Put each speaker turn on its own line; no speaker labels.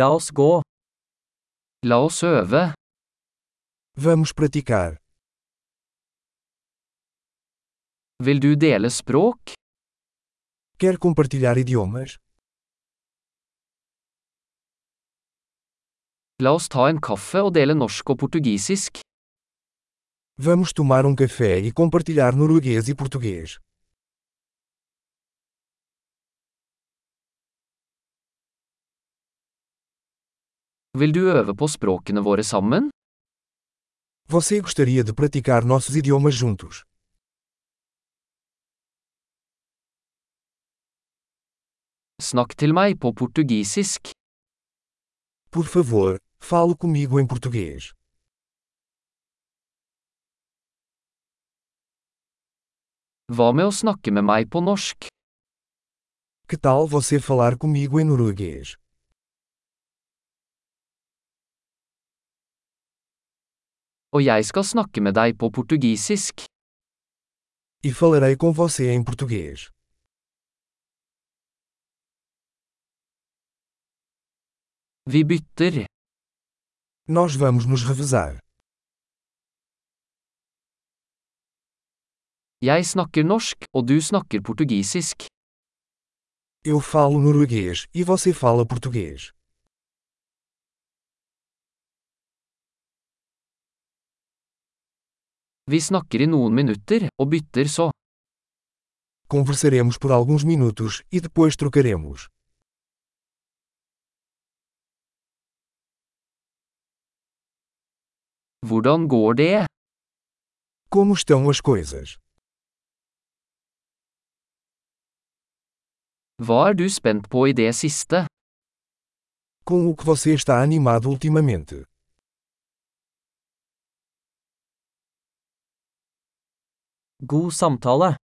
La oss gå. La oss øve.
Vamos praticar.
Vil du dele språk?
Quer compartilhar idiomas?
La oss ta en kaffe og dele norsk og portugisisk.
Vamos tomar um café e compartilhar norueguês e português.
Vil du øve på språkene våre sammen?
Você gostaria de praticar nossos idiomas juntos?
Snakk til meg på portugisisk.
Por favor, fale comigo em português.
Hva med å snakke med meg på norsk?
Que tal você falar comigo em norueguês?
Og jeg skal snakke med deg på portugisisk.
E falarei com você em português.
Vi bytter.
Nós vamos nos revezar.
Jeg snakker norsk, og du snakker portugisisk.
Eu falo norueguês e você fala português.
Vi snakker i noen minutter, og bytter så.
Conversaremos por alguns minutos e depois trocaremos.
Hvordan går det?
Como estão as coisas?
Hva er du spent på i det siste?
Com o que você está animado ultimamente?
God samtale.